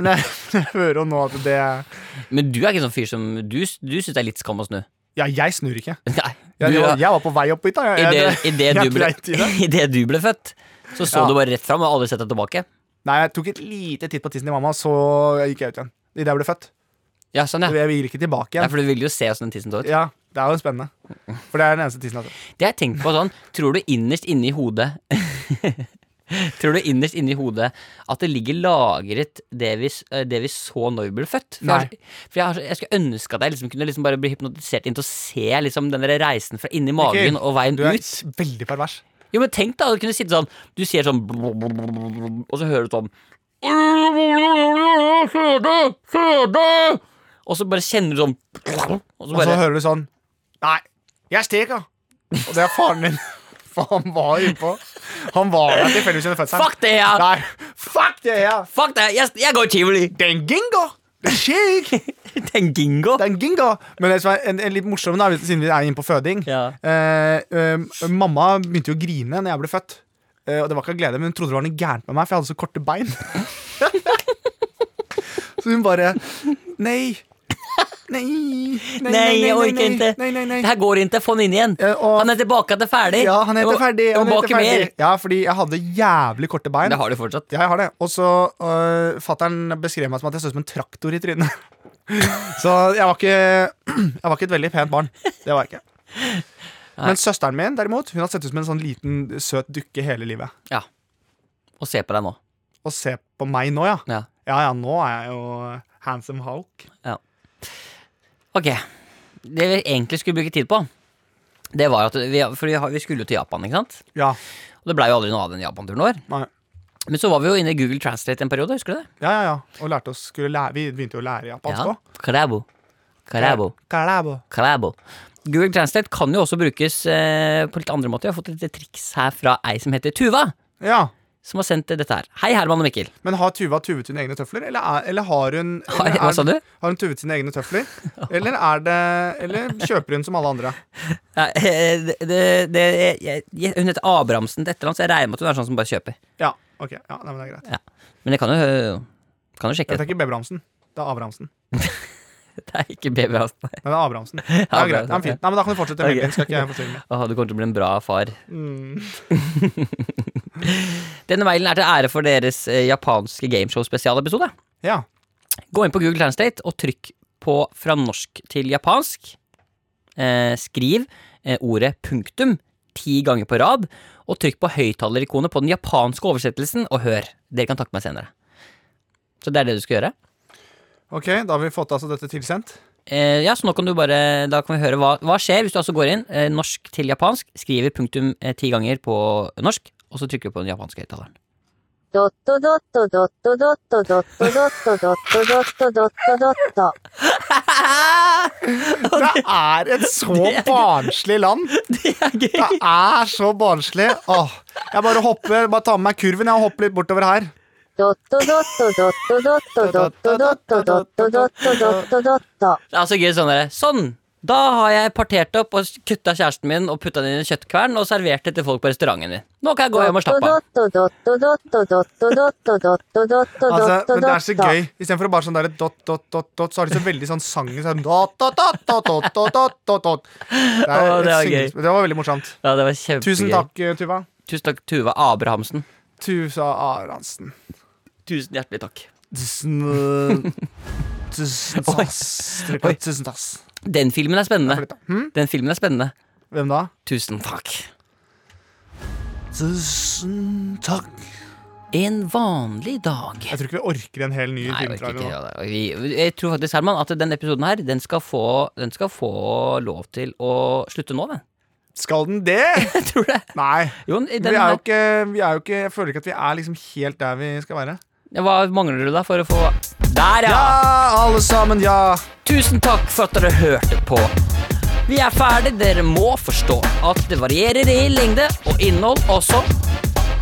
S2: Men jeg, jeg hører jo nå at det
S3: Men du er ikke sånn fyr som Du, du syns det er litt skam å snu.
S2: Ja, jeg snur ikke.
S3: Nei.
S2: Jeg,
S3: Du,
S2: jeg, jeg var på vei opp hit, da. Jeg, jeg,
S3: I det, i det,
S2: jeg
S3: du, ble,
S2: dreit i det.
S3: i det du ble født, så så
S2: Ja.
S3: du bare rett fram og har aldri sett deg tilbake.
S2: Nei, jeg tok et lite titt på tissen til mamma, så gikk jeg ut igjen. Idet jeg ble født.
S3: Ja, sånn, ja.
S2: Jeg vil ikke tilbake
S3: ja
S2: igjen.
S3: for du ville jo se åssen den tissen så ut.
S2: Ja, Det er jo spennende. For det er den eneste tissen jeg har sett.
S3: Det jeg tenker på sånn, tror du innerst inne i hodet Tror du innerst inne i hodet at det ligger lagret det vi, s- eh, det vi så når vi ble født? For,
S2: Nei.
S3: Jeg, for jeg, har, så- jeg skulle ønske at jeg liksom kunne liksom bare bli hypnotisert inn til å se liksom den der reisen fra inni magen og veien
S2: Du er
S3: ut.
S2: veldig pervers.
S3: Jo, men tenk da, du kunne sitte sånn Du sier sånn Og så hører du sånn Søde, søde Og så bare kjenner du sånn Og så
S2: Og så
S3: bare
S2: hører du sånn Nei, jeg steker Og det er faren din For han var innpå Han var der tilfeldigvis under fødselen
S3: Fuck det her
S2: Nei, fuck det her
S3: Fuck det her Jeg, jeg går i tivoli
S2: Den gingo Det skjer ikke
S3: Den gingo
S2: Den gingo Men det som er en, en litt morsom da, Siden vi er inne på føding
S3: Ja.
S2: eh, eh, Mamma begynte jo å grine Når jeg ble født eh, Og det var ikke av glede Men hun trodde det var noe gærent med meg For jeg hadde så korte bein Så hun bare Nei Nei
S3: Nei, jeg orker ikke
S2: Nei, nei, nei
S3: Det her går ikke Få den inn igjen
S2: Eh, og-
S3: Han er tilbake at det er ferdig
S2: Ja, han heter
S3: Og-
S2: Ferdig.
S3: Og
S2: Han
S3: bak
S2: heter
S3: mer
S2: ferdig. Ja, fordi jeg hadde jævlig korte bein.
S3: Det har du fortsatt
S2: Ja, jeg har det. Og så øh, fattern beskrev meg som at jeg så ut som en traktor i trynet. så jeg var ikke Jeg var ikke et veldig pent barn. Det var jeg ikke. Men søsteren min derimot, hun har sett ut som en sånn liten søt dukke hele livet.
S3: Og se på deg nå.
S2: Og se på meg nå, ja.
S3: Ja.
S2: Ja ja, nå er jeg jo handsome Hulk.
S3: Ok, det vi egentlig skulle bruke tid på Det var at vi, for vi, har- vi skulle jo til Japan, ikke sant?
S2: Ja.
S3: Og det ble jo aldri noe av den Japan-turen vår
S2: Nei.
S3: Men så var vi jo inne i Google Translate en periode, husker du det?
S2: Ja, ja, ja. Og lærte oss, skulle lære, vi begynte jo å lære japansk òg.
S3: Karabo Karabo
S2: Karabo.
S3: Karabo Google Translate kan jo også brukes eh, på litt andre måter Jeg har fått et lite triks her fra ei som heter Tuva
S2: Ja.
S3: Som har sendt dette her Hei Herman og Mikkel
S2: Men har Tuva tuvet sine egne tøfler, eller, er, eller har hun
S3: Har-
S2: eller
S3: hva sa du?
S2: Har hun tuvet sine egne tøfler? Eller, er det, eller kjøper hun som alle andre?
S3: Nei, eh, det, det, det, jeg, jeg, Hun heter Abrahamsen til etterland Så jeg regner med at hun er sånn som bare kjøper
S2: Ja, ok. Ja, nei, men det er greit.
S3: Men jeg kan jo, øh, kan jo sjekke
S2: Det er
S3: det
S2: ikke Bebramsen. Det er Abrahamsen.
S3: Det er ikke babyhasen
S2: Nei, det er Abrahamsen. Det er greit. Det er fint. Nei, men da kan du fortsette.
S3: Ok.
S2: Okay. Skal ikke jeg forstyrre med.
S3: Åh, du kommer til å bli en bra far.
S2: Mm.
S3: Denne mailen er til ære for deres eh, japanske gameshow-spesialepisode.
S2: Ja.
S3: Gå inn på Google Translate og trykk på fra norsk til japansk. Eh, skriv eh, ordet punktum ti ganger på rad, og trykk på høyttalerikonet på den japanske oversettelsen og hør. Dere kan takke meg senere. Så det er det du skal gjøre.
S2: Ok, da har vi fått altså dette tilsendt.
S3: Eh, ja, så nå kan du bare Da kan vi høre hva, hva skjer hvis du altså går inn eh, norsk til japansk, skriver punktum eh, ti ganger på norsk, og så trykker du på den japanske høyttaleren.
S4: ドットドットドットドットドットドットドットドットドットドット。
S2: Det er et så barnslig land!
S3: Det er gøy!
S2: Det er så barnslig. Åh, jeg bare hopper, bare tar med meg kurven jeg, og hopper litt bortover her.
S4: ドットドットドットドットドットドットドットドットドットドット。
S3: Det er så gøy sånn der. Sånn! Da har jeg partert opp og kutta kjæresten min og putta den i en kjøttkvern og servert det til folk på restauranten din. Nå kan jeg gå hjem og
S4: ドッ
S3: slappe av.
S4: トドットドットドットドットドットドットド
S2: Altså,
S4: ット
S2: men
S4: ド
S2: det
S4: ッ
S2: er så
S4: ト。
S2: gøy. Istedenfor bare sånn der dot, dot, dot, dot, så har de så veldig sånn sangen sånn dot, dot, dot, dot, dot, dot, dot, dot. Det, er
S3: Åh, det
S2: et
S3: var
S2: syngings- det var veldig morsomt.
S3: Ja, det var kjempegøy.
S2: Tusen takk, eh, Tuva.
S3: Tusen takk, Tuva Abrahamsen.
S2: Tusa Aransen.
S3: Tusen hjertelig takk.
S2: Tusen Tusen tass. Trykk på
S3: Oi.
S2: Tusen tass.
S3: Den filmen er spennende.
S2: Flytt da. Hm?
S3: Den filmen er spennende.
S2: Hvem da?
S3: Tusen takk.
S2: Tusen takk.
S3: En vanlig dag.
S2: Jeg tror ikke vi orker en hel ny
S3: Nei, jeg orker
S2: filmtrailer.
S3: ikke
S2: nå.
S3: det. Vi- Jeg tror faktisk, Herman, at den episoden her, den skal få, den skal få lov til å slutte nå, den.
S2: Skal den det?
S3: Jeg tror det.
S2: Nei.
S3: Jo, den
S2: Vi er
S3: her,
S2: jo ikke, vi er jo ikke Jeg føler ikke at vi er liksom helt der vi skal være.
S3: hva mangler du da for å få Der,
S2: Ja,
S3: ja!
S2: alle sammen, ja!
S3: Tusen takk for at dere hørte på. Vi er ferdig, dere må forstå at det varierer i lengde og innhold også.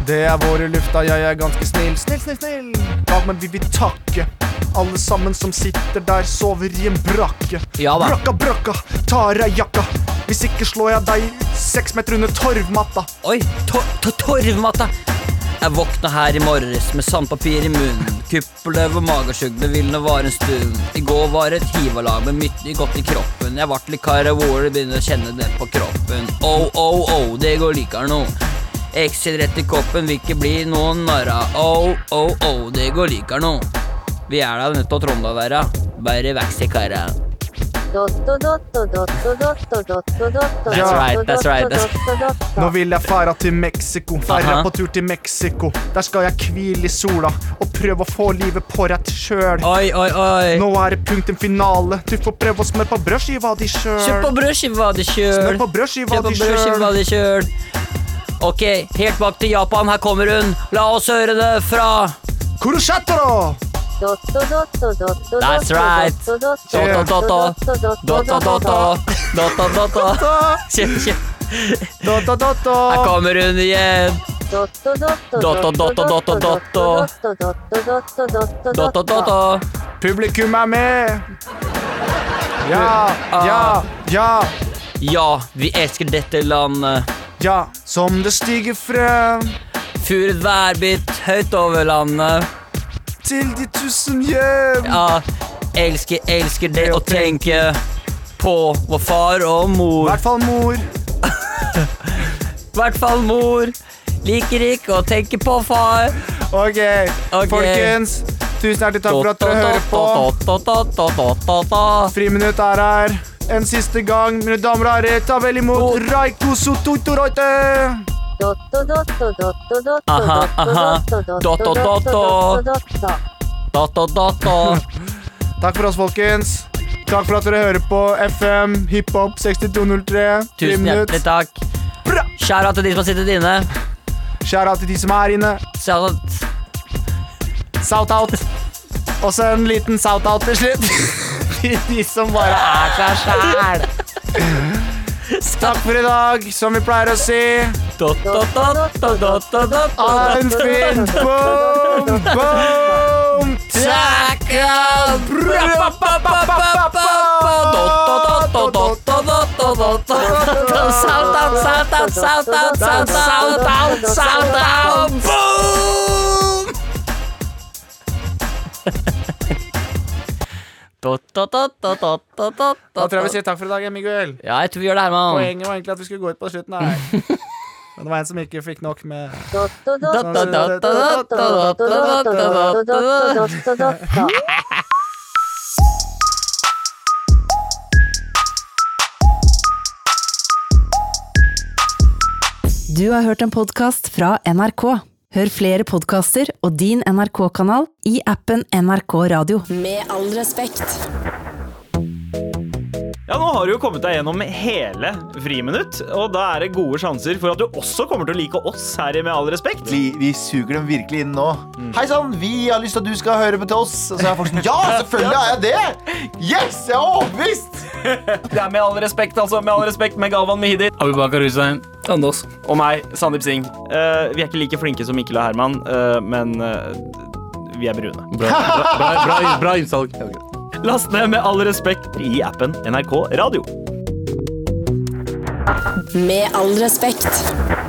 S2: Det er vår i lufta, jeg er ganske snill. Snill, snill, snill. Da, men vi vil takke alle sammen som sitter der, sover i en brakke.
S3: Ja da.
S2: Brakka, brakka, tar av jakka. Hvis ikke slår jeg deg seks meter under torvmatta.
S3: Oi, to to torvmatta! Jeg våkna her i morges med sandpapir i munnen. Kuppelløv og magesugg, det ville nå vare en stund. I går var et hivalag med mye godt i kroppen. Jeg vart litt karavole, begynner å kjenne det på kroppen. Oh, oh, oh, det går likar nå. Exit rett i koppen, vil ikke bli noen narra. Oh, oh, oh, det går likar nå. Vi er da nødt til å Trondheimværa. Bare vaks i kara.
S4: ドットドットドットドットドットドット。
S3: That's right, that's right, that's-
S4: ドット
S2: Nå vil jeg færa til Mexico, færa
S3: Aha.
S2: på tur til Mexico. Der skal jeg hvile i sola og prøve å få livet på rett kjøl.
S3: Oi, oi, oi.
S2: Nå er det punktum finale. Du får prøve å smøre på brødskiva di
S3: Kjøp
S2: sjøl.
S3: på brødskiva di sjøl.
S2: Smør på brødskiva
S3: Kjøp på
S2: di
S3: brødskiva
S2: sjøl.
S3: di sjøl. Ok, helt bak til Japan. Her kommer hun. La oss høre det fra
S2: Kuroshatoro!
S4: ドットドットドット。
S3: That's right.
S4: ドッ
S2: Yeah.
S4: トドットドットドッ
S3: Dotta
S4: トドッ
S3: Dotta.
S4: ト。
S3: Dotta Dotta. Kjøp, kjøp.
S2: Da, da, da, da.
S3: Her kommer hun igjen.
S4: Dotto dotto dotto dotto dotto dotto dotto dotto
S3: Dotta
S4: dotto
S3: Dotta.
S4: dotto
S2: Publikum er med! Ja, ja, ja,
S3: Ja, vi elsker dette landet.
S2: ja. Som det stiger frem
S3: Fur et værbitt høyt over landet.
S2: til de tusen hjem.
S3: Ja, elsker, elsker det å tenke på vår far og
S2: I
S3: mor.
S2: hvert fall mor.
S3: I hvert fall mor. Liker ikke å tenke på far.
S2: Ok,
S3: Ok.
S2: folkens. Tusen hjertelig takk for at dere hører på.
S3: hører på.
S2: Friminutt er her. en siste gang. Mine damer og herrer, ta vel imot Raiko Sotoitoroite!
S4: Dotto dotto dotto dotto
S3: Aha, aha. Dotto, dotto.
S4: dotto.
S3: Dato, dato.
S2: Takk for oss, folkens. Takk for at dere hører på FM Hiphop 6203.
S3: Tusen hjertelig takk.
S2: Bra!
S3: Skjæra til de som har sittet inne.
S2: Skjær av til de som er inne.
S3: Shout out.
S2: South-out. Og så en liten south-out til slutt. Til de som bare er seg sjæl. Takk for i dag, som vi pleier å si.
S3: Dot, dot, dot, dot, dot, dot, dot.
S2: Ha en fin boom, boom,
S3: Tackar! Salt out, salt out, salt out, salt out, out, salt out, boom!
S2: Da tror jeg vi sier takk for i dag, Miguel.
S3: Ja, jeg tror vi gjør det, Herman.
S2: Poenget var egentlig at vi skulle gå ut på slutten her. Men det var en som ikke fikk nok med
S4: Dotto dotto
S3: Da, da, da, da, da, da, da, da, da, da.
S4: dotto dotto.
S1: Du har hørt en podkast fra NRK. Hør flere podkaster og din NRK-kanal i appen NRK Radio.
S7: Med all respekt.
S8: Ja, nå har du jo kommet deg gjennom hele Friminutt, og da er det gode sjanser for at du også kommer til å like oss her i Med all respekt.
S9: Vi, vi suger dem virkelig inn nå. Hei sann, vi har lyst til at du skal høre på til oss. Og så er folk sånn Ja, selvfølgelig er jeg det! Yes, jeg er overbevist!
S8: Det er Med all respekt, altså. Med all respekt med Galvan Mehidi.
S10: Abubakar Hussein. Tandås. Og meg, Sandeep Singh.
S8: Eh, vi er ikke like flinke som Mikkel og Herman, eh, men eh, vi er brune.
S10: Bra, bra, bra, bra, bra innsalg.
S8: Last ned Med all respekt i appen NRK Radio.
S7: Med all respekt.